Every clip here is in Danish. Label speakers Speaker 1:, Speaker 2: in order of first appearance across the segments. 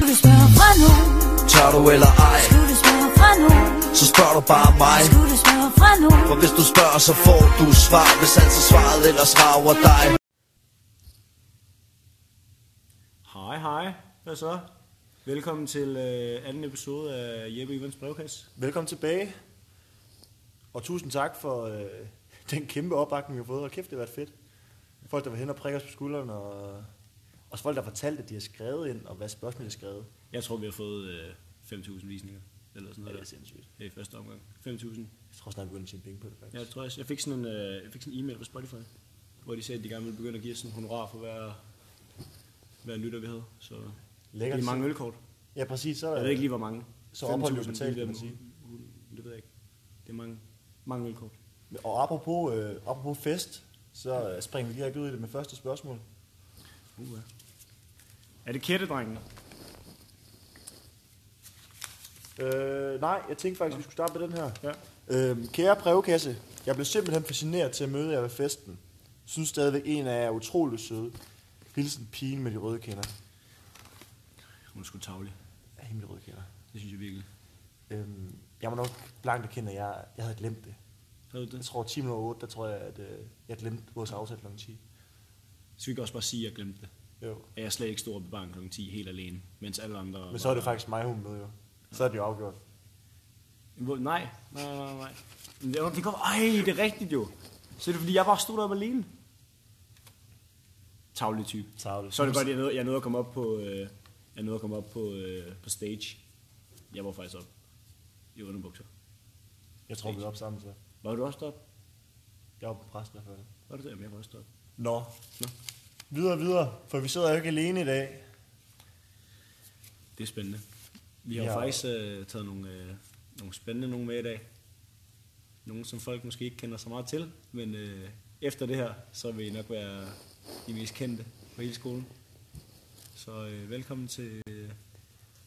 Speaker 1: du spørge fra nogen?
Speaker 2: Tør du eller ej,
Speaker 1: Skulle du spørge fra nogen?
Speaker 2: så spørg du bare mig
Speaker 1: Skulle du spørge fra nogen?
Speaker 2: For hvis du spørger, så får du svar Hvis altså svaret ellers rager dig
Speaker 3: Hej, hej. Hvad så? Velkommen til øh, anden episode af Jeppe Ivans brevkasse.
Speaker 4: Velkommen tilbage. Og tusind tak for øh, den kæmpe opbakning, vi har fået. Og kæft, det har været fedt. Folk, der var hen og prikker os på skuldrene, og også folk, der fortalte, at de har skrevet ind, og hvad spørgsmålet er skrevet.
Speaker 3: Jeg tror, vi har fået øh, 5.000 visninger. Eller sådan noget
Speaker 4: Det
Speaker 3: der.
Speaker 4: er sindssygt.
Speaker 3: Det er i første omgang. 5.000.
Speaker 4: Jeg tror snart, vi begynder at tjene penge på det, faktisk.
Speaker 3: Jeg tror, jeg, jeg fik sådan en, øh, jeg fik sådan en e-mail fra Spotify, hvor de sagde, at de gerne ville begynde at give os sådan en honorar for hver, hver lytter, vi havde. Så
Speaker 4: Lækkert.
Speaker 3: det er mange ølkort.
Speaker 4: Ja, præcis. Så er der,
Speaker 3: Jeg ved ikke lige, hvor mange.
Speaker 4: Så ophold jo
Speaker 3: 5.000,
Speaker 4: betalt, kan man
Speaker 3: det er- Det ved jeg ikke. Det er mange, mange ølkort.
Speaker 4: Og apropos, øh, apropos fest, så øh, springer vi direkte ud i det med første spørgsmål.
Speaker 3: Uh, er det kættedrengene?
Speaker 4: Øh, nej, jeg tænkte faktisk, vi skulle starte med den her.
Speaker 3: Ja.
Speaker 4: Øhm, kære brevkasse, jeg blev simpelthen fascineret til at møde jer ved festen. Synes stadigvæk, en af jer er utrolig søde. Hilsen pigen med de røde kender.
Speaker 3: Hun er sgu tavlig.
Speaker 4: Ja, hende med de røde kender.
Speaker 3: Det synes jeg virkelig.
Speaker 4: Øhm, jeg må nok blankt erkende, at jeg, jeg havde glemt det.
Speaker 3: Har du det?
Speaker 4: Jeg tror 10 minutter 8, der tror jeg, at øh, jeg glemte vores aftale kl. 10.
Speaker 3: Skal vi ikke også bare sige, at jeg glemte det?
Speaker 4: Jo.
Speaker 3: At jeg slet ikke stod op i baren kl. 10 helt alene, mens alle andre...
Speaker 4: Men så er det faktisk mig, hun møder jo. Så er det jo afgjort.
Speaker 3: Hvor- Nej, nej, nej, nej. Men Det, det kom... Ej, det er rigtigt jo. Så er det fordi, jeg bare stod deroppe alene. Tavlig type.
Speaker 4: Tarveligt.
Speaker 3: Så er det godt, jeg nåede, jeg nåede at komme op på, øh, jeg nåede at komme op på, øh, på stage. Jeg var faktisk op i underbukser.
Speaker 4: Jeg tror, vi er op sammen så.
Speaker 3: Var du også deroppe?
Speaker 4: Jeg var på præst i hvert fald.
Speaker 3: Var du der? Jamen, jeg var også deroppe.
Speaker 4: Nå.
Speaker 3: Nå.
Speaker 4: Videre, videre. For vi sidder jo ikke alene i dag.
Speaker 3: Det er spændende. Vi har
Speaker 4: Ja.
Speaker 3: ja. faktisk øh, taget nogle, øh, nogle spændende nogle med i dag. Nogle, som folk måske ikke kender så meget til, men øh, efter det her, så vil I nok være de mest kendte på hele skolen. Så øh, velkommen til øh,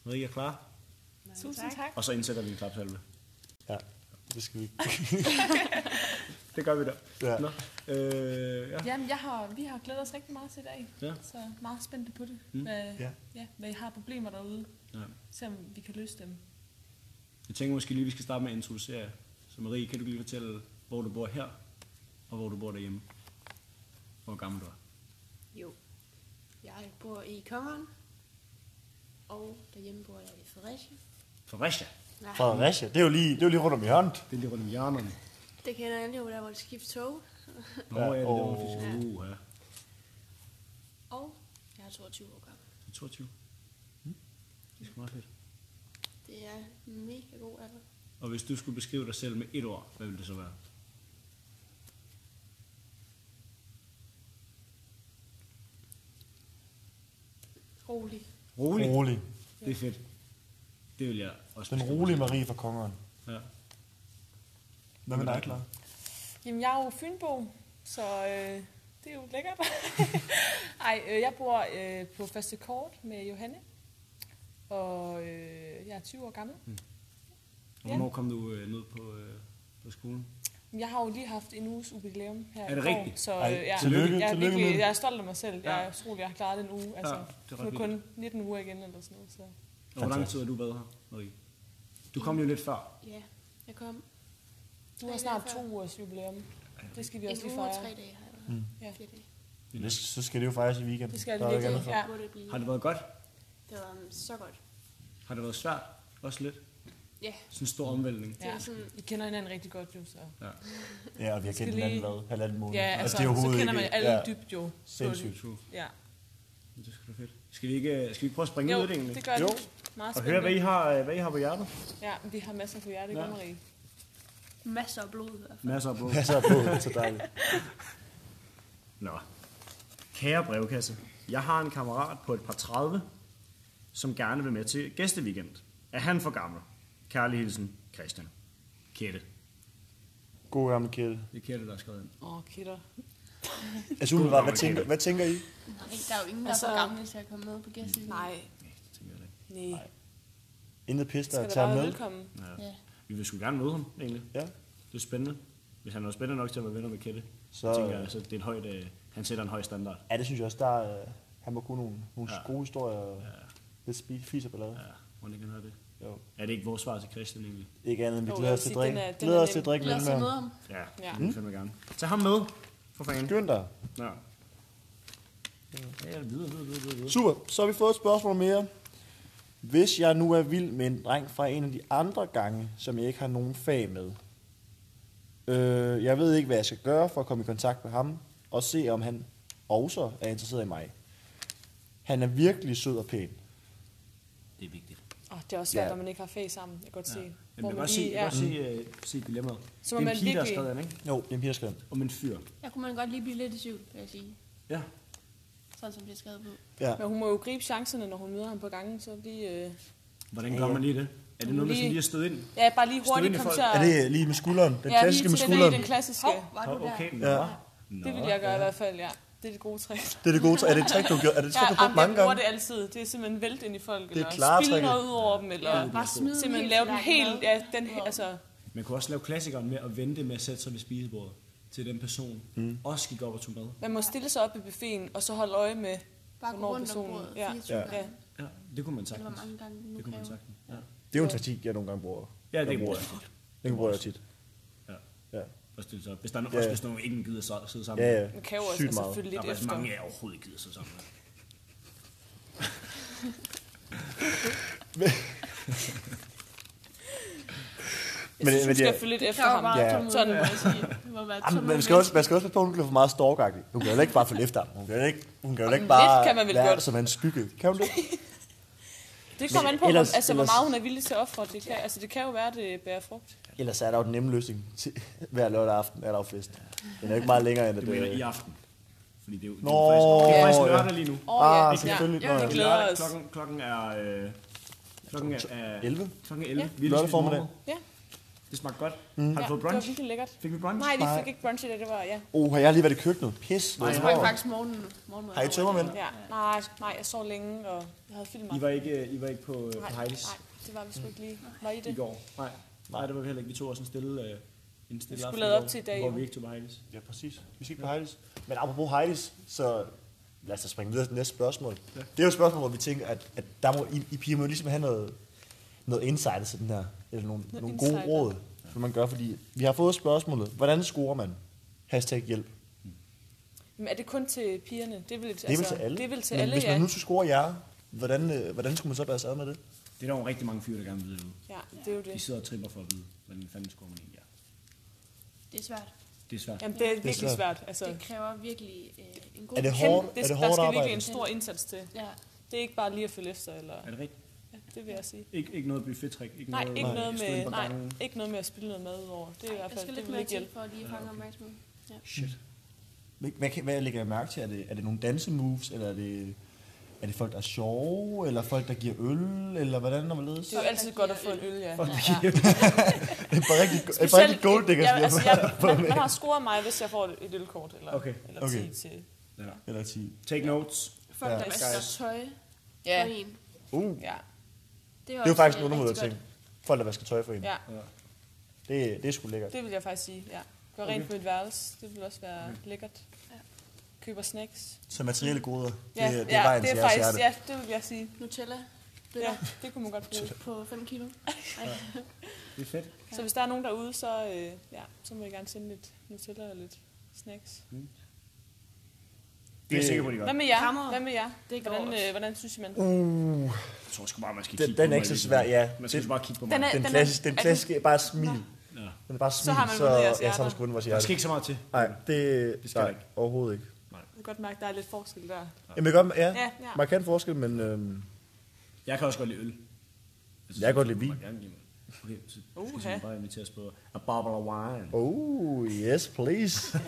Speaker 3: Marie er klar,
Speaker 5: Tusind tak.
Speaker 3: og så indsætter vi en klapsalve.
Speaker 4: Ja, det skal vi ikke.
Speaker 3: Det gør vi da.
Speaker 4: Ja.
Speaker 3: Nå, øh, ja.
Speaker 5: Jamen, jeg har, vi har glædet os rigtig meget til i dag,
Speaker 3: Ja.
Speaker 5: så meget spændte på det.
Speaker 3: Mm.
Speaker 5: Hvad,
Speaker 4: Ja.
Speaker 5: ja. Ja, hvad I har af problemer derude,
Speaker 3: Ja.
Speaker 5: se om vi kan løse dem.
Speaker 3: Jeg tænker måske lige, vi skal starte med at introducere jer. Så Marie, kan du lige fortælle, hvor du bor her, og hvor du bor derhjemme? Hvor gammel du er?
Speaker 6: Jo. Jeg bor i Kongeren, og derhjemme bor jeg i Fredericia.
Speaker 3: Fredericia.
Speaker 6: Nej,
Speaker 4: Fredericia, det er jo lige, det er jo lige rundt om hjørnet.
Speaker 3: Det er lige rundt om hjørnerne.
Speaker 6: det kender jeg lige, hvor der var et skift tog.
Speaker 3: Nå, ja, det
Speaker 4: og-
Speaker 3: var fysisk. Uh, ja.
Speaker 6: Og jeg er 22 år gammel.
Speaker 3: 22. Hm? Det er sgu meget fedt.
Speaker 6: Det er en mega god alder.
Speaker 3: Og hvis du skulle beskrive dig selv med et ord, hvad ville det så være?
Speaker 6: Rolig.
Speaker 3: Rolig.
Speaker 4: Rolig.
Speaker 3: Det er fedt. Det vil jeg også
Speaker 4: Den
Speaker 3: beskrive.
Speaker 4: rolige Marie fra kongeren.
Speaker 3: Ja.
Speaker 4: Hvad med dig, Clara?
Speaker 5: Jamen, jeg er jo Fynbo, så øh, det er jo lækkert. Ej, øh, jeg bor øh, på første kort med Johanne, og øh, jeg er 20 år gammel.
Speaker 3: Mm. Og hvornår kom du øh, ned på, øh, på skolen?
Speaker 5: Jeg har jo lige haft en uges jubilæum her
Speaker 3: Er det
Speaker 5: i går,
Speaker 3: rigtigt?
Speaker 5: så
Speaker 4: Ej,
Speaker 5: øh, jeg,
Speaker 4: tillykke,
Speaker 5: jeg, er
Speaker 4: tillykke med
Speaker 5: virkelig,
Speaker 4: det.
Speaker 5: jeg er stolt af mig selv.
Speaker 3: Ja.
Speaker 5: Jeg er utrolig, jeg har klaret den uge. Altså,
Speaker 3: det er
Speaker 5: nu
Speaker 3: ret
Speaker 5: det kun 19 uger igen eller sådan noget. Så.
Speaker 3: Og hvor lang
Speaker 4: Fantastisk.
Speaker 3: tid har du været her, Marie? Du kom jo lidt før.
Speaker 6: Ja, jeg kom
Speaker 5: Du har snart to ugers jubilæum. Det skal vi også
Speaker 6: en
Speaker 5: lige
Speaker 6: uge og
Speaker 5: fejre.
Speaker 6: tre dage har jeg været.
Speaker 5: Ja.
Speaker 6: Mm. Fire dage.
Speaker 4: Det, så skal det jo faktisk i weekenden.
Speaker 5: Det skal
Speaker 4: Der
Speaker 5: det
Speaker 4: er jo ikke
Speaker 5: virkelig.
Speaker 4: andet
Speaker 5: Ja.
Speaker 6: Må det blive.
Speaker 3: Har det været godt?
Speaker 6: Det var um, så godt.
Speaker 3: Har det været svært? Også lidt?
Speaker 6: Ja,
Speaker 3: Sådan en stor omvæltning.
Speaker 6: det var sådan,
Speaker 5: I kender hinanden rigtig godt jo, så...
Speaker 3: Ja.
Speaker 4: for. Ja, og vi har kendt
Speaker 5: Skal
Speaker 4: hinanden
Speaker 5: lige-
Speaker 4: hvad? Halvanden måned.
Speaker 5: Ja, altså,
Speaker 4: er
Speaker 5: så
Speaker 4: overhovedet
Speaker 5: kender man
Speaker 4: ikke-
Speaker 5: alle
Speaker 4: ja,
Speaker 5: dybt jo.
Speaker 4: Sindssygt.
Speaker 3: True.
Speaker 5: Ja.
Speaker 3: Det skal da fedt. Skal vi ikke, øh, skal vi ikke prøve at springe
Speaker 5: Jo,
Speaker 3: ud i det egentlig?
Speaker 5: det gør
Speaker 4: Jo.
Speaker 5: det. Meget
Speaker 3: Og høre, hvad I
Speaker 5: spændende.
Speaker 3: har, øh, hvad I har på hjertet.
Speaker 5: Ja, vi har masser på hjertet,
Speaker 3: Ja.
Speaker 5: ja. Marie.
Speaker 6: masser af blod i hvert fald.
Speaker 3: Masser af blod.
Speaker 4: Passer på, det er så dejligt.
Speaker 3: Nå. Kære brevkasse, jeg har en kammerat på et par 30, som gerne vil med til gæsteweekend. Er han for gammel? Kærlig hilsen, Christian. Kette.
Speaker 4: God gammel kæde.
Speaker 3: Det er Kette, der har skrevet ind.
Speaker 5: Åh, oh, kitter.
Speaker 4: Altså, umiddelbart, hvad tænker, hvad tænker I?
Speaker 6: Nej, der er jo ingen, der er
Speaker 5: Altså-
Speaker 6: for gamle til at komme med på gæsten.
Speaker 5: Nej,
Speaker 3: Ja, det tænker jeg da ikke.
Speaker 5: nej.
Speaker 4: Intet pis, der
Speaker 5: Skal
Speaker 4: er
Speaker 5: da
Speaker 4: tager
Speaker 5: bare
Speaker 4: med.
Speaker 5: være velkommen.
Speaker 6: Ja.
Speaker 3: Vi vil sgu gerne møde ham, egentlig.
Speaker 4: Ja.
Speaker 3: Det er spændende. Hvis han er spændende nok til at være venner med Kette, så
Speaker 4: Så-
Speaker 3: tænker jeg, så det er en højt, øh, han sætter en høj standard.
Speaker 4: ja, det synes jeg også, der er, han må kunne nogle, nogle
Speaker 3: Ja.
Speaker 4: gode historier. Ja. Lidt spi- fiser ballade.
Speaker 3: Ja, må ikke han høre det.
Speaker 4: Jo.
Speaker 3: Er det ikke vores svar til Christian egentlig?
Speaker 4: Ikke andet, end vi
Speaker 5: Jo,
Speaker 4: glæder os
Speaker 5: jeg vil
Speaker 4: til at
Speaker 5: sige,
Speaker 4: drikke.
Speaker 5: den er- den
Speaker 4: Glæder
Speaker 5: er
Speaker 4: os til at
Speaker 5: nem.
Speaker 4: drikke
Speaker 6: Lad os se
Speaker 4: Lindberg.
Speaker 6: noget om.
Speaker 3: Ja,
Speaker 5: Ja.
Speaker 3: det vil vi fandme gerne. Tag ham med, for fanden.
Speaker 4: Skynd dig.
Speaker 3: Nå. Ja, videre, videre, videre, videre.
Speaker 4: Super, så har vi fået et spørgsmål mere. Hvis jeg nu er vild med en dreng fra en af de andre gange, som jeg ikke har nogen fag med, øh, jeg ved ikke, hvad jeg skal gøre for at komme i kontakt med ham, og se, om han også er interesseret i mig. Han er virkelig sød og pæn.
Speaker 3: Det er vigtigt.
Speaker 5: Oh, det er også svært,
Speaker 4: Ja.
Speaker 5: når man ikke har fag sammen. Jeg kan godt se.
Speaker 3: Ja. Men
Speaker 5: Hvor
Speaker 3: man kan
Speaker 5: man
Speaker 3: godt se,
Speaker 5: lige
Speaker 3: ja.
Speaker 5: er.
Speaker 3: godt se, uh, se dilemmaet.
Speaker 5: Så
Speaker 3: Så
Speaker 5: må
Speaker 3: det er
Speaker 5: man
Speaker 3: en pige, der har
Speaker 5: virkelig-
Speaker 3: skrevet den, ikke?
Speaker 4: Jo, det er en pigerskøn.
Speaker 3: Om en fyr.
Speaker 6: Jeg kunne man godt lige blive lidt i tvivl, vil jeg sige.
Speaker 3: Ja.
Speaker 6: Sådan som det er skrevet på.
Speaker 4: Ja.
Speaker 5: Men hun må jo gribe chancerne, når hun møder ham på gangen. Så lige, øh,
Speaker 3: Hvordan gør man lige det? Er det noget, man skal
Speaker 5: Lige-
Speaker 3: lige at støde ind?
Speaker 5: ja, bare lige
Speaker 3: Stå ind
Speaker 5: hurtigt
Speaker 3: i
Speaker 5: komme
Speaker 3: folk.
Speaker 5: til at...
Speaker 4: Er det lige med skulderen? Den
Speaker 5: ja,
Speaker 4: klassiske
Speaker 5: lige
Speaker 4: med
Speaker 5: til den,
Speaker 4: skulderen.
Speaker 5: den klassiske.
Speaker 6: Var
Speaker 3: Nå,
Speaker 6: du der?
Speaker 3: Okay, nå.
Speaker 4: Ja.
Speaker 3: Nå.
Speaker 5: Det vil jeg gøre i hvert fald, ja. Det er det gode trick.
Speaker 4: Det er det gode. Er det et trick, du har gjort? Er det et
Speaker 5: Ja,
Speaker 4: trick, du har
Speaker 5: jamen,
Speaker 4: brugt mange
Speaker 5: jeg bruger
Speaker 4: gange?
Speaker 5: det altid. Det er simpelthen vælte ind i
Speaker 4: er
Speaker 5: folk, eller
Speaker 4: klare
Speaker 5: spille
Speaker 4: tricket.
Speaker 5: noget ud over dem, eller
Speaker 6: Bare smid den
Speaker 5: simpelthen
Speaker 6: helt
Speaker 5: lave den
Speaker 6: langt
Speaker 5: helt...
Speaker 6: ned.
Speaker 5: Ja, den, altså,
Speaker 3: Man kunne også lave klassikeren med at vente med at sætte sig ved spisebordet til den person mm. også gik op og tog mad.
Speaker 5: man må stille sig op i buffeten, og så holde øje med,
Speaker 6: Bare gå
Speaker 5: hvornår
Speaker 6: rundt om
Speaker 5: personen...
Speaker 6: bordet.
Speaker 5: ja.
Speaker 6: 24 gange.
Speaker 5: ja.
Speaker 3: Ja, det kunne man
Speaker 6: Eller
Speaker 3: sagtens.
Speaker 6: hvor mange gange det nu
Speaker 3: Det kunne man
Speaker 6: kræver.
Speaker 3: sagtens. Ja,
Speaker 4: Det er jo en taktik, jeg nogle gange bruger.
Speaker 3: ja det
Speaker 4: Jeg
Speaker 3: kan
Speaker 4: bruger
Speaker 3: man
Speaker 4: det.
Speaker 3: godt.
Speaker 4: Den bruger jeg tit.
Speaker 3: Ja.
Speaker 4: Ja,
Speaker 3: Og stille sig op. Hvis der er
Speaker 4: Ja.
Speaker 3: også hvis nogen ikke gider så- sidde sammen.
Speaker 4: ja. ja.
Speaker 5: Man kan jo også
Speaker 4: Sygt
Speaker 5: altså,
Speaker 4: meget.
Speaker 5: følge
Speaker 3: Der er
Speaker 5: lidt
Speaker 3: faktisk
Speaker 5: efter.
Speaker 3: mange, jeg overhovedet ikke gider sidde sammen med.
Speaker 5: Jeg synes,
Speaker 4: men
Speaker 5: du
Speaker 4: det
Speaker 5: skal
Speaker 4: er-
Speaker 5: følge lidt
Speaker 6: Det
Speaker 5: efter
Speaker 6: kræver
Speaker 5: ham.
Speaker 6: bare
Speaker 4: Ja.
Speaker 6: tålmodighed,
Speaker 5: Sådan.
Speaker 6: må jeg sige. Det må være
Speaker 4: Jamen, man, skal
Speaker 6: tålmodig.
Speaker 4: også, man skal også passe på, at hun bliver for meget stalkagtig. Hun kan jo ikke bare følge efter ham. Hun kan jo ikke, hun kan jo ikke
Speaker 5: lidt
Speaker 4: bare
Speaker 5: kan man vel
Speaker 4: være
Speaker 5: godt.
Speaker 4: som en skygge. Kan hun det?
Speaker 5: Det kommer
Speaker 4: Men
Speaker 5: an på, ellers,
Speaker 4: ellers-
Speaker 5: altså, hvor
Speaker 4: ellers-
Speaker 5: meget hun er villig til at ofre. Det kan, altså, det kan jo være, det bærer frugt.
Speaker 4: Ellers er der jo den nemme løsning. Til, hver lørdag aften er der jo fest. Den er jo ikke meget længere end at...
Speaker 3: Det mener i
Speaker 4: øh,
Speaker 3: aften. Fordi det er jo det
Speaker 4: Nå,
Speaker 3: er faktisk, det er faktisk
Speaker 4: ja.
Speaker 3: lørdag lige nu.
Speaker 5: Åh,
Speaker 4: Ah,
Speaker 5: det-
Speaker 4: selvfølgelig. Nå,
Speaker 5: Ja,
Speaker 4: ja.
Speaker 5: vi glæder
Speaker 3: Lørdag,
Speaker 5: os.
Speaker 3: klokken, klokken er... Øh, klokken er, er
Speaker 4: 11?
Speaker 3: Klokken er 11.
Speaker 5: Ja.
Speaker 3: Vi har lige
Speaker 4: Lørdag
Speaker 3: spist
Speaker 4: formiddag.
Speaker 3: morgenmad.
Speaker 5: Ja,
Speaker 3: Det smagte godt. Har du
Speaker 5: ja,
Speaker 3: fået
Speaker 5: det
Speaker 3: brunch?
Speaker 5: var virkelig lækkert.
Speaker 3: Fik vi brunch?
Speaker 5: Nej, de fik ikke brunch i dag, det var, ja.
Speaker 4: Oh, har jeg lige været i køkkenet? Pis.
Speaker 6: Jeg tror faktisk morgen, morgen
Speaker 4: Har I tømmermænd?
Speaker 5: ja. Nej, nej, jeg sov længe, og jeg havde filmet
Speaker 3: I
Speaker 5: mig.
Speaker 3: var ikke, øh, I var ikke på, øh, på
Speaker 5: Nej,
Speaker 3: Heidi's
Speaker 5: nej, det var vi sgu ikke lige. Var I
Speaker 3: i
Speaker 5: det?
Speaker 3: går? Nej. Nej, det var vi heller ikke. Vi tog også en stille, øh, en stille
Speaker 5: skulle
Speaker 3: aften
Speaker 5: lade op
Speaker 3: går,
Speaker 5: til i dag,
Speaker 3: hvor
Speaker 5: jo.
Speaker 3: vi ikke tog på Heidi's.
Speaker 4: Ja, præcis. Vi skal ikke på Heidi's. Men apropos Heidi's, så lad os da springe videre til næste spørgsmål. Det er jo et spørgsmål, hvor vi tænker, at, at der må, I, I piger må ligesom have noget, noget insight til den her, eller nogle, nogle gode
Speaker 5: insider.
Speaker 4: råd, som man gør, fordi vi har fået spørgsmålet, hvordan scorer man? Hashtag hjælp. Det
Speaker 5: Men er det kun til pigerne? Det er vel,
Speaker 4: er vel til alle?
Speaker 5: Altså, Det er vel til
Speaker 4: Men
Speaker 5: alle,
Speaker 4: hvis
Speaker 5: ja.
Speaker 4: man nu skulle score jer, hvordan, øh, hvordan skulle man så bære sig ad med det?
Speaker 5: Uh,
Speaker 3: Det er der jo rigtig mange fyre, der gerne vil vide. derude.
Speaker 5: Ja, det er jo
Speaker 3: De
Speaker 5: det.
Speaker 3: sidder og tripper for at vide, hvordan fanden skulle man egentlig er.
Speaker 6: Det er svært.
Speaker 3: Det er svært.
Speaker 5: Jamen, det er virkelig
Speaker 4: svært.
Speaker 5: svært. Altså,
Speaker 6: Det kræver virkelig øh, en god...
Speaker 4: Er det
Speaker 5: kæmpe-
Speaker 4: hårdt, er det
Speaker 5: der
Speaker 4: hårdt
Speaker 5: skal virkelig
Speaker 4: arbejde?
Speaker 5: en stor indsats til.
Speaker 6: Ja,
Speaker 5: Det er ikke bare lige at følge efter, eller...
Speaker 3: Er det rigtigt?
Speaker 5: Ja, det vil jeg sige.
Speaker 3: Ikke, ikke noget at blive fedtrik? Ikke
Speaker 5: Nej,
Speaker 3: noget,
Speaker 5: ikke noget,
Speaker 3: stå ind
Speaker 5: med,
Speaker 3: på
Speaker 5: nej,
Speaker 3: gangen?
Speaker 5: ikke noget med at spille noget mad over. Det er i hvert
Speaker 6: der skal
Speaker 5: fald, det
Speaker 6: lidt
Speaker 5: vil
Speaker 6: mere
Speaker 5: ikke
Speaker 6: til
Speaker 5: hjælpe.
Speaker 6: for at lige fange opmærksomheden. Ja.
Speaker 3: Shit.
Speaker 4: Hvad, hvad, kan- hvad lægger jeg mærke til? Er det, er det nogle dansemoves, eller er det, er det folk, der er sjove, eller folk, der giver øl, eller hvordan og hvorledes?
Speaker 5: Det er jo altid godt at få en øl, ja.
Speaker 4: Det er bare rigtig, det er bare rigtig gold diggers,
Speaker 5: ja,
Speaker 4: vi har
Speaker 5: altså, jeg, man, man, har scoret mig, hvis jeg får et ølkort, eller,
Speaker 3: Okay.
Speaker 5: eller
Speaker 4: Okay.
Speaker 5: 10 til.
Speaker 3: Ja.
Speaker 4: Eller 10.
Speaker 3: Take notes.
Speaker 6: Folk, der
Speaker 4: Ja.
Speaker 6: vasker tøj
Speaker 5: Ja,
Speaker 6: på en. øh,
Speaker 4: Uh,
Speaker 5: ja,
Speaker 4: det er jo faktisk en undermodet ting. Folk, der vasker tøj for en.
Speaker 5: ja.
Speaker 4: Det, det er sgu lækkert.
Speaker 5: Det vil jeg faktisk sige, ja. Gør rent på et værelse, det vil også være lækkert.
Speaker 6: Ja.
Speaker 5: Køber snacks.
Speaker 4: Så materielle goder, det,
Speaker 5: Ja,
Speaker 4: det, det
Speaker 5: ja,
Speaker 4: er vejen til
Speaker 5: det er
Speaker 4: jeres
Speaker 5: faktisk,
Speaker 4: hjerte.
Speaker 5: ja, det vil jeg sige.
Speaker 6: Nutella
Speaker 5: Ja, det kunne man godt bruge.
Speaker 6: på 5 kilo.
Speaker 3: Det er fedt.
Speaker 5: Så hvis der er nogen derude, så, øh, ja, så må I gerne sende lidt Nutella og lidt snacks.
Speaker 3: Det er jeg sikker på, de gør.
Speaker 5: Hvad med jer?
Speaker 6: Hammer.
Speaker 5: Hvad med jer?
Speaker 6: Det går
Speaker 5: hvordan,
Speaker 6: også.
Speaker 5: øh, hvordan synes I, man...
Speaker 4: Uh,
Speaker 3: Jeg tror sgu bare, man skal
Speaker 4: Den-
Speaker 3: kigge på
Speaker 4: den er
Speaker 3: mig
Speaker 4: ikke så
Speaker 3: lidt.
Speaker 4: svær, ja.
Speaker 3: Man skal
Speaker 4: Det-
Speaker 3: bare kigge på mig.
Speaker 5: Den er-
Speaker 4: den,
Speaker 5: er-
Speaker 4: klassiske, den
Speaker 5: er den-
Speaker 4: klassiske er bare smil.
Speaker 3: Ja.
Speaker 4: Den er bare smil,
Speaker 5: har man
Speaker 4: så,
Speaker 5: vundet jeres
Speaker 4: ja, så har
Speaker 5: hjerter.
Speaker 4: man sgu vundet vores
Speaker 3: Der skal
Speaker 4: hjerte.
Speaker 3: ikke så meget til.
Speaker 4: Nej, det,
Speaker 3: Mm. Det skal der
Speaker 4: nej,
Speaker 3: ikke.
Speaker 4: overhovedet ikke.
Speaker 5: Jeg kan godt mærke, der er lidt forskel der.
Speaker 4: Jamen, jeg gør, ja,
Speaker 5: Ja, ja.
Speaker 4: markant forskel, men øhm,
Speaker 3: Jeg kan også godt lide øl. synes,
Speaker 4: Jeg kan godt lide
Speaker 3: må
Speaker 4: vin.
Speaker 3: gerne give mig. Okay, så
Speaker 5: Uha.
Speaker 3: skal jeg bare invitere os på a bottle of wine.
Speaker 4: oh, yes, please. det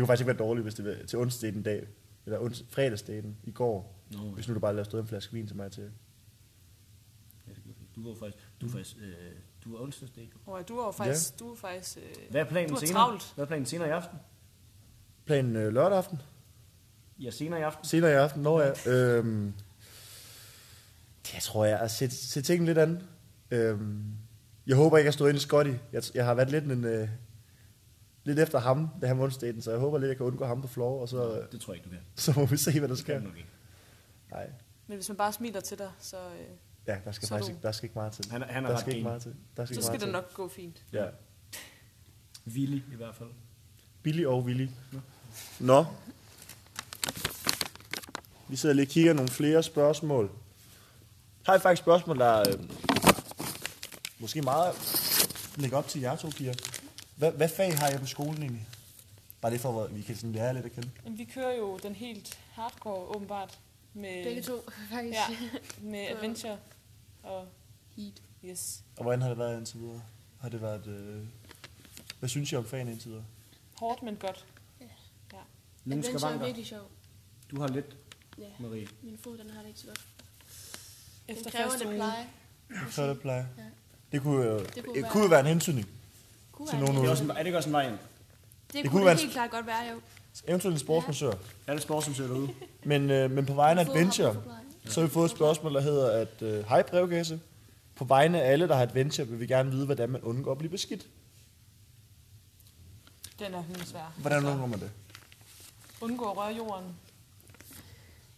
Speaker 4: kunne faktisk ikke være dårligt, hvis det var til onsdag den dag, eller ons, fredagsdagen i går,
Speaker 3: Nå, ja.
Speaker 4: hvis nu du bare lavede stået en flaske vin til mig til.
Speaker 3: Ja, det kan jeg godt lide. Du var faktisk, du var faktisk, øh, du var onsdagsdag.
Speaker 5: Og du er jo faktisk... Du er faktisk øh,
Speaker 3: Hvad er planen
Speaker 5: du er
Speaker 3: senere?
Speaker 5: travlt.
Speaker 3: Hvad er planen senere i aften?
Speaker 4: Planen øh, lørdag aften?
Speaker 3: Ja, senere i aften.
Speaker 4: Senere i aften, når jeg... Øhm, det tror jeg, at se, se tingene lidt an. Øhm, jeg håber ikke, at jeg stod ind i Scotty. Jeg, jeg har været lidt en... Øh, lidt efter ham, da han vandt staten, så jeg håber lidt, at jeg kan undgå ham på floor, og så, øh,
Speaker 3: Det tror jeg ikke, du kan.
Speaker 4: så må vi se, hvad der
Speaker 3: Det
Speaker 4: sker.
Speaker 3: kan du nok ikke.
Speaker 4: Nej.
Speaker 5: Men hvis man bare smiler til dig, så, øh,
Speaker 4: Ja, der skal
Speaker 5: Så
Speaker 4: faktisk
Speaker 5: du-
Speaker 4: ikke, der skal ikke meget til.
Speaker 3: Han er- han er
Speaker 4: der
Speaker 3: ret
Speaker 4: skal ikke
Speaker 3: green.
Speaker 4: meget til. Der skal
Speaker 5: så
Speaker 4: ikke
Speaker 5: skal
Speaker 4: meget til.
Speaker 5: det nok gå fint.
Speaker 4: Ja.
Speaker 3: Villig i hvert fald.
Speaker 4: Billy og Willy. Nå. Vi sidder lige og kigger nogle flere spørgsmål. Har I faktisk spørgsmål, der øh, måske meget lægger op til jer to piger? Hvad, hvad fag har jeg på skolen egentlig? Bare det for, at vi kan sådan lære jer lidt at kende.
Speaker 5: Men vi kører jo den helt hardcore, åbenbart. Med,
Speaker 6: Begge to, faktisk.
Speaker 5: Ja,
Speaker 6: Ja.
Speaker 5: med
Speaker 6: Så-
Speaker 5: adventure og
Speaker 6: Heat.
Speaker 5: yes.
Speaker 4: Og hvordan har det været indtil videre? Har det været... Øh, hvad synes I om fagene indtil videre?
Speaker 5: Hårdt, men godt.
Speaker 3: Nogle
Speaker 6: Adventure er
Speaker 3: skavanker.
Speaker 6: virkelig sjov.
Speaker 3: Du har lidt,
Speaker 6: Ja.
Speaker 3: Marie.
Speaker 6: Min fod, den har det ikke så godt. Den
Speaker 5: Efter
Speaker 6: kræver
Speaker 5: første
Speaker 6: lidt
Speaker 5: uge.
Speaker 6: pleje.
Speaker 4: Så det plejer.
Speaker 6: Ja.
Speaker 4: Det kunne, øh, det kunne,
Speaker 6: Det kunne
Speaker 4: det
Speaker 6: være-
Speaker 4: kunne jo være en hentydning.
Speaker 6: Kunne
Speaker 4: Til
Speaker 6: være
Speaker 4: nogen
Speaker 3: Det
Speaker 6: det.
Speaker 3: er, også en, er det ikke også en vej ind?
Speaker 6: Det,
Speaker 4: kunne
Speaker 6: kunne
Speaker 4: være
Speaker 6: det
Speaker 4: en-
Speaker 6: helt klart godt være, jo.
Speaker 4: Eventuelt en sportsmassør.
Speaker 3: Alle sportsmuseer derude.
Speaker 4: Men, øh, men på vegne af
Speaker 6: Fod har
Speaker 4: Adventure,
Speaker 6: brug for pleje.
Speaker 4: så har vi fået et spørgsmål, der hedder, at øh, hej brevkasse. På vegne af alle, der har Adventure, vil vi gerne vide, hvordan man undgår at blive beskidt.
Speaker 5: Den er helt svær.
Speaker 4: Hvordan undgår man det?
Speaker 5: Undgå at røre jorden.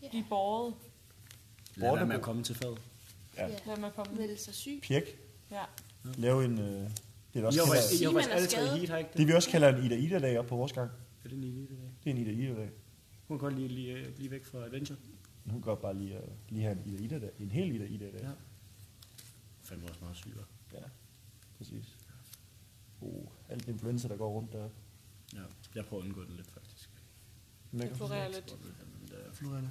Speaker 6: Ja.
Speaker 5: Blive båret.
Speaker 3: Lad være med at komme til fad.
Speaker 6: Ja.
Speaker 5: Lad mig komme.
Speaker 6: Melde sig syg.
Speaker 4: Pjek.
Speaker 5: Ja.
Speaker 4: Lave en... Øh, det, er
Speaker 3: I
Speaker 4: også
Speaker 3: har
Speaker 4: kalder,
Speaker 3: faktisk- I har
Speaker 6: Sige,
Speaker 3: faktisk
Speaker 6: man er
Speaker 3: alle tre i
Speaker 6: skadet.
Speaker 3: heat, har ikke det?
Speaker 4: det vi også kalder en Ida Ida-dag op på vores gang.
Speaker 3: Er det en elite i dag?
Speaker 4: Det er en Ida Ida-dag.
Speaker 3: Hun kan godt lige, øh, lige blive væk fra Adventure.
Speaker 4: Hun kan godt bare lige, øh, lige have en Ida Ida-dag. En hel Ida Ida-dag.
Speaker 3: Ja. Fandme også meget syg, hva'?
Speaker 4: ja. Præcis. Oh, alt influenza, der går rundt der.
Speaker 3: Ja, jeg prøver at undgå den lidt, faktisk.
Speaker 5: Det florerer lidt.
Speaker 4: Florida.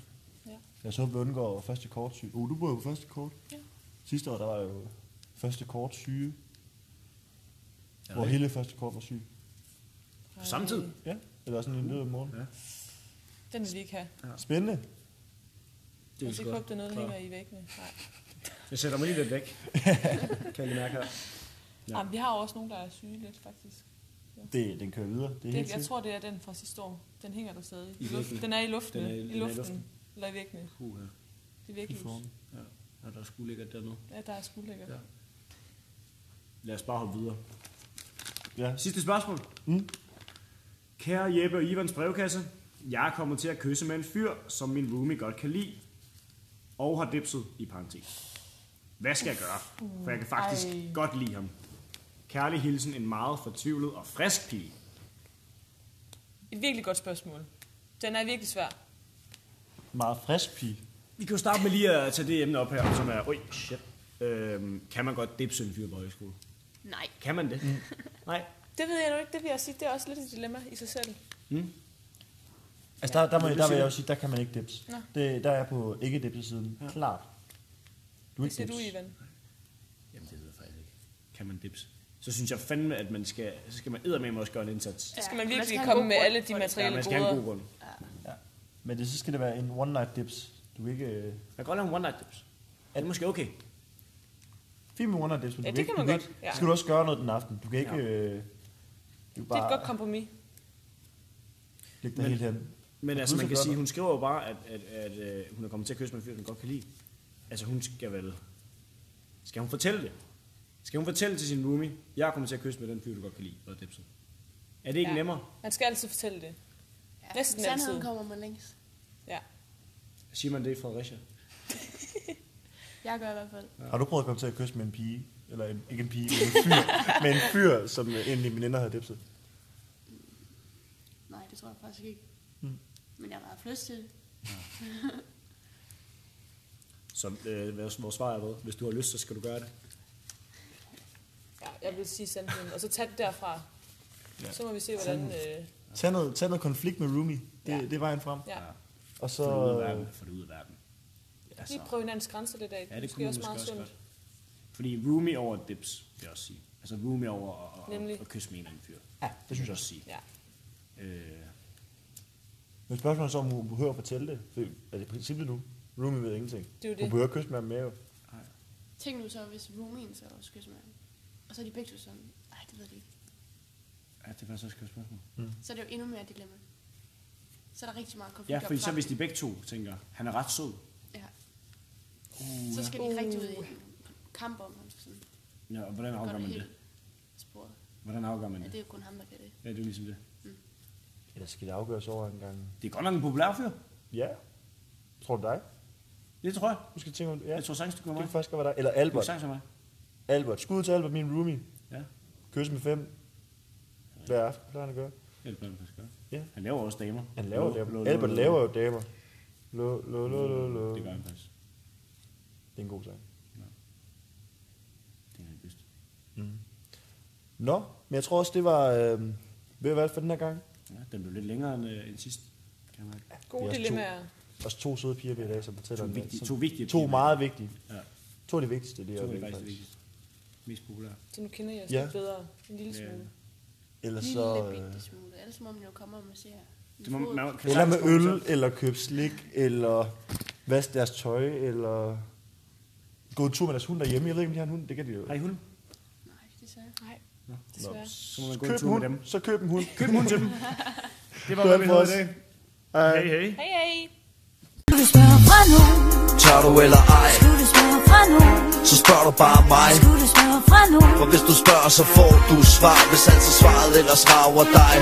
Speaker 5: Ja.
Speaker 4: Jeg så, at vi undgår første kort syge. Oh, du bor jo på første kort.
Speaker 5: Ja.
Speaker 4: Sidste år, der var jo første kort syge,
Speaker 3: Er
Speaker 4: hvor
Speaker 3: det
Speaker 4: hele første kort var syg.
Speaker 3: ikke? På samme tid?
Speaker 4: Ja. Eller sådan en død om morgenen.
Speaker 3: Ja.
Speaker 5: Den vil vi ikke have.
Speaker 4: Spændende.
Speaker 3: Det
Speaker 5: Jeg
Speaker 3: er
Speaker 5: skal
Speaker 3: sgu
Speaker 5: ikke
Speaker 3: godt.
Speaker 5: håbe, det er noget, der
Speaker 3: Klar.
Speaker 5: hænger i væggene. Nej.
Speaker 3: Jeg sætter mig lige lidt væk. kan jeg lige mærke her. Ja.
Speaker 5: Ja. Jamen, vi har jo også nogen, der er syge lidt, faktisk.
Speaker 4: Det, den kører videre. Det er helt
Speaker 5: Det, jeg
Speaker 4: sikkert.
Speaker 5: tror, det er den fra sidste år. Den hænger der stadig.
Speaker 3: I
Speaker 5: I luften.
Speaker 3: væggene.
Speaker 5: Den er i luften.
Speaker 3: Den er i-
Speaker 5: i,
Speaker 3: den er i
Speaker 5: luften.
Speaker 3: luften.
Speaker 5: Eller i væggene.
Speaker 3: Uh, ja.
Speaker 5: Det er vægtløs.
Speaker 3: ja. Og der er sgu lækkert dernede.
Speaker 5: Ja, der er sgu lækkert.
Speaker 3: Ja. Lad os bare hoppe videre.
Speaker 4: Ja.
Speaker 3: Sidste spørgsmål.
Speaker 4: Mm.
Speaker 3: Kære Jeppe og Ivans brevkasse. Jeg er kommet til at kysse med en fyr, som min roomie godt kan lide. Og har dipset i parentes. Hvad skal jeg gøre? For jeg kan faktisk
Speaker 5: Ej.
Speaker 3: godt lide ham. Kærlig hilsen en meget fortvivlet og frisk pige.
Speaker 5: Et virkelig godt spørgsmål. Den er virkelig svær.
Speaker 4: Meget frisk pige.
Speaker 3: Vi kan jo starte med lige at tage det emne op her, som er, øj, shit. Øhm, kan man godt dipse en fyr på højskole?
Speaker 6: Nej.
Speaker 3: Kan man det? Mm. Nej.
Speaker 5: Det ved jeg nu ikke. Det vil jeg sige, det er også lidt et dilemma i sig selv.
Speaker 4: Altså, der, der, må,
Speaker 3: det
Speaker 4: der vil
Speaker 3: siger du.
Speaker 4: jeg jo sige, der kan man ikke dips.
Speaker 5: Nå.
Speaker 4: Det, der er jeg på ikke dipsesiden. Ja. Klart. Du er
Speaker 5: Hvad
Speaker 4: ikke
Speaker 5: siger
Speaker 4: dips.
Speaker 5: du, Ivan?
Speaker 3: Jamen, det ved jeg faktisk ikke. Kan man dipse? Så synes jeg fandme, at man skal, så skal man eddermame også gøre en indsats.
Speaker 5: Så skal
Speaker 6: Ja,
Speaker 5: man
Speaker 6: man
Speaker 5: virkelig
Speaker 6: skal have en
Speaker 5: komme
Speaker 6: god
Speaker 5: med
Speaker 6: grund
Speaker 5: alle de
Speaker 6: for det.
Speaker 5: materielle
Speaker 3: man skal have en god
Speaker 5: goder.
Speaker 3: grund.
Speaker 4: Ja. Men det, så skal det være en one night dips. Du er ikke... Øh,
Speaker 3: Man kan godt lave en one night dips. Det er måske okay.
Speaker 4: fint med one night dips, men
Speaker 5: Ja,
Speaker 4: du
Speaker 5: det
Speaker 4: ikke,
Speaker 5: kan man
Speaker 4: du
Speaker 5: godt.
Speaker 4: Ikke,
Speaker 5: Ja.
Speaker 4: Så skal du også gøre noget den aften. Du kan ikke...
Speaker 3: Ja.
Speaker 4: Øh, du kan
Speaker 5: Det er
Speaker 4: bare
Speaker 5: et godt kompromis.
Speaker 4: lægge dig
Speaker 3: Men-
Speaker 4: helt hen.
Speaker 3: Men altså, man kan
Speaker 4: Pludselig
Speaker 3: sige,
Speaker 4: gør
Speaker 3: hun skriver jo bare, at, at, at, øh, hun er kommet til at kysse med en fyr, hun godt kan lide. Altså, hun skal vel... Skal hun fortælle det? Skal hun fortælle til sin roomie, jeg er kommet til at kysse med den fyr, du godt kan lide, og dipset? Er det ikke
Speaker 5: Ja.
Speaker 3: ja. nemmere?
Speaker 5: Man skal altid fortælle det.
Speaker 6: Ja.
Speaker 5: Næsten
Speaker 6: Sandheden
Speaker 5: altid.
Speaker 6: kommer man længst.
Speaker 5: Ja.
Speaker 3: Siger man det i Fredericia?
Speaker 6: Jeg gør i hvert fald.
Speaker 4: Har du prøvet at komme til at kysse med en pige? Eller en, ikke en pige, men en fyr, med en fyr, som øh, en af mine veninder havde dipset?
Speaker 6: Nej, det tror jeg faktisk ikke.
Speaker 4: Mm.
Speaker 6: Men jeg har haft lyst til det.
Speaker 3: Så øh, vores vores svar er hvad? Hvis du har lyst, så skal du gøre det.
Speaker 5: ja. Jeg vil sige sandheden. Og så tag det derfra.
Speaker 4: Ja.
Speaker 5: Så må vi se, hvordan... Øh,
Speaker 4: Tag noget, tag noget konflikt med roomie. Det,
Speaker 5: Ja.
Speaker 4: ja. det er vejen frem.
Speaker 5: ja.
Speaker 3: altså-
Speaker 4: Og
Speaker 3: Få
Speaker 4: så...
Speaker 3: det ud af verden. Få det ud af verden. Altså,
Speaker 5: Lige prøve hinandens grænser lidt af.
Speaker 3: ja, det
Speaker 5: Måske
Speaker 3: kunne man måske også
Speaker 5: sundt.
Speaker 3: godt. Fordi roomie over dips, vil jeg også sige. Altså roomie over og, og,
Speaker 5: Nemlig.
Speaker 3: og kysse med en eller anden fyr. Ja, det synes jeg også sige.
Speaker 5: Ja.
Speaker 3: Øh,
Speaker 4: Men spørgsmålet er så, om hun behøver at fortælle det. For er det princippet nu? Roomie ved ingenting.
Speaker 5: Det er jo det.
Speaker 4: Hun behøver at kysse med ham mere. jo.
Speaker 6: Tænk nu så, hvis roomien så også kysser med ham. Og så er de begge to sådan, nej, det ved de ikke.
Speaker 3: ja, det er faktisk også et godt spørgsmål.
Speaker 6: Så er det jo endnu mere et dilemma. Så er der rigtig meget konflikt
Speaker 3: Ja,
Speaker 6: op
Speaker 3: fordi så
Speaker 6: frem.
Speaker 3: hvis de begge to tænker, han er ret sød.
Speaker 6: Ja. Uh, så skal de rigtig ud i en kamp om ham. Sådan.
Speaker 3: Ja, og hvordan afgør
Speaker 6: Går
Speaker 3: man
Speaker 6: det
Speaker 3: det?
Speaker 6: helt sporet.
Speaker 3: Hvordan afgør man
Speaker 6: Ja, det
Speaker 3: det?
Speaker 6: er jo kun ham, der kan det.
Speaker 3: Ja, det er jo ligesom det.
Speaker 4: Eller skal det afgøres over en gang?
Speaker 3: Det er godt nok en populær fyr.
Speaker 4: Ja. Tror du dig?
Speaker 3: Det tror jeg.
Speaker 4: Nu skal jeg tænke om ja.
Speaker 3: Jeg tror sagtens, du
Speaker 4: det
Speaker 3: kommer
Speaker 4: kan
Speaker 3: mig.
Speaker 4: faktisk godt være dig. Eller
Speaker 3: Du kan
Speaker 4: Albert.
Speaker 3: sagtens være mig.
Speaker 4: Albert. Skud til Albert, min roomie.
Speaker 3: Ja.
Speaker 4: Kys med fem. Hver aften plejer han at gøre.
Speaker 3: Det kan faktisk godt.
Speaker 4: Ja.
Speaker 3: Han laver også damer.
Speaker 4: Han laver
Speaker 3: Lå, lå,
Speaker 4: damer.
Speaker 3: lå,
Speaker 4: Albert
Speaker 3: lå,
Speaker 4: laver
Speaker 3: lå.
Speaker 4: jo damer. Lo, lo, lo, lo, lo.
Speaker 3: Det gør
Speaker 4: Det
Speaker 3: han faktisk.
Speaker 4: er en god sang.
Speaker 3: Det er han bedst.
Speaker 4: Nå, men jeg tror også, det var øh, ved at være alt for den her gang.
Speaker 3: Ja, den blev lidt længere end, øh, end sidst. Kan jeg mærke.
Speaker 4: Vi er
Speaker 5: Gode
Speaker 4: også to.
Speaker 5: dilemmaer.
Speaker 4: Også to søde piger, vi har i dag, som fortæller
Speaker 3: To
Speaker 4: en-
Speaker 3: vigtige-
Speaker 4: som-
Speaker 3: to vigtige
Speaker 4: To
Speaker 3: piger.
Speaker 4: meget vigtige.
Speaker 3: Ja,
Speaker 4: To af de vigtigste, det
Speaker 3: det
Speaker 4: er
Speaker 3: var det
Speaker 4: jo
Speaker 3: faktisk det
Speaker 4: faktisk.
Speaker 3: vigtigste. Mest populære.
Speaker 5: Så nu kender jeg os
Speaker 4: Ja.
Speaker 5: lidt bedre. En lille
Speaker 3: Ja.
Speaker 5: smule.
Speaker 4: Ellers
Speaker 6: Lille
Speaker 4: så... Øh,
Speaker 6: bitte smule. Ellers må man jo komme og massere.
Speaker 3: Det må, man, kan
Speaker 4: eller med
Speaker 3: sagtens få dem
Speaker 4: øl, eller købe slik, eller vaske deres tøj, eller gå en tur med deres hund derhjemme. Jeg ved ikke, om de har en hund. Det kan de jo.
Speaker 3: selv. Har I hund?
Speaker 6: Nej, det sagde jeg.
Speaker 5: Nej, desværre.
Speaker 3: Så må man gå en
Speaker 4: Køb en
Speaker 3: tur med
Speaker 4: hund,
Speaker 3: dem.
Speaker 4: så køb en hund.
Speaker 3: Køb en hund til dem. Det var,
Speaker 4: Det var
Speaker 3: hvad vi
Speaker 4: alt for
Speaker 3: havde i
Speaker 4: os.
Speaker 3: dag. Hej, hej.
Speaker 5: Hej, hej.
Speaker 1: Skulle du spørge fra nogen?
Speaker 2: Tør du eller ej,
Speaker 1: Skulle du spørge fra nogen?
Speaker 2: så spørg du bare mig
Speaker 1: Skulle du spørge fra nogen?
Speaker 2: For hvis du spørger, så får du svar Hvis altså svaret ellers rager dig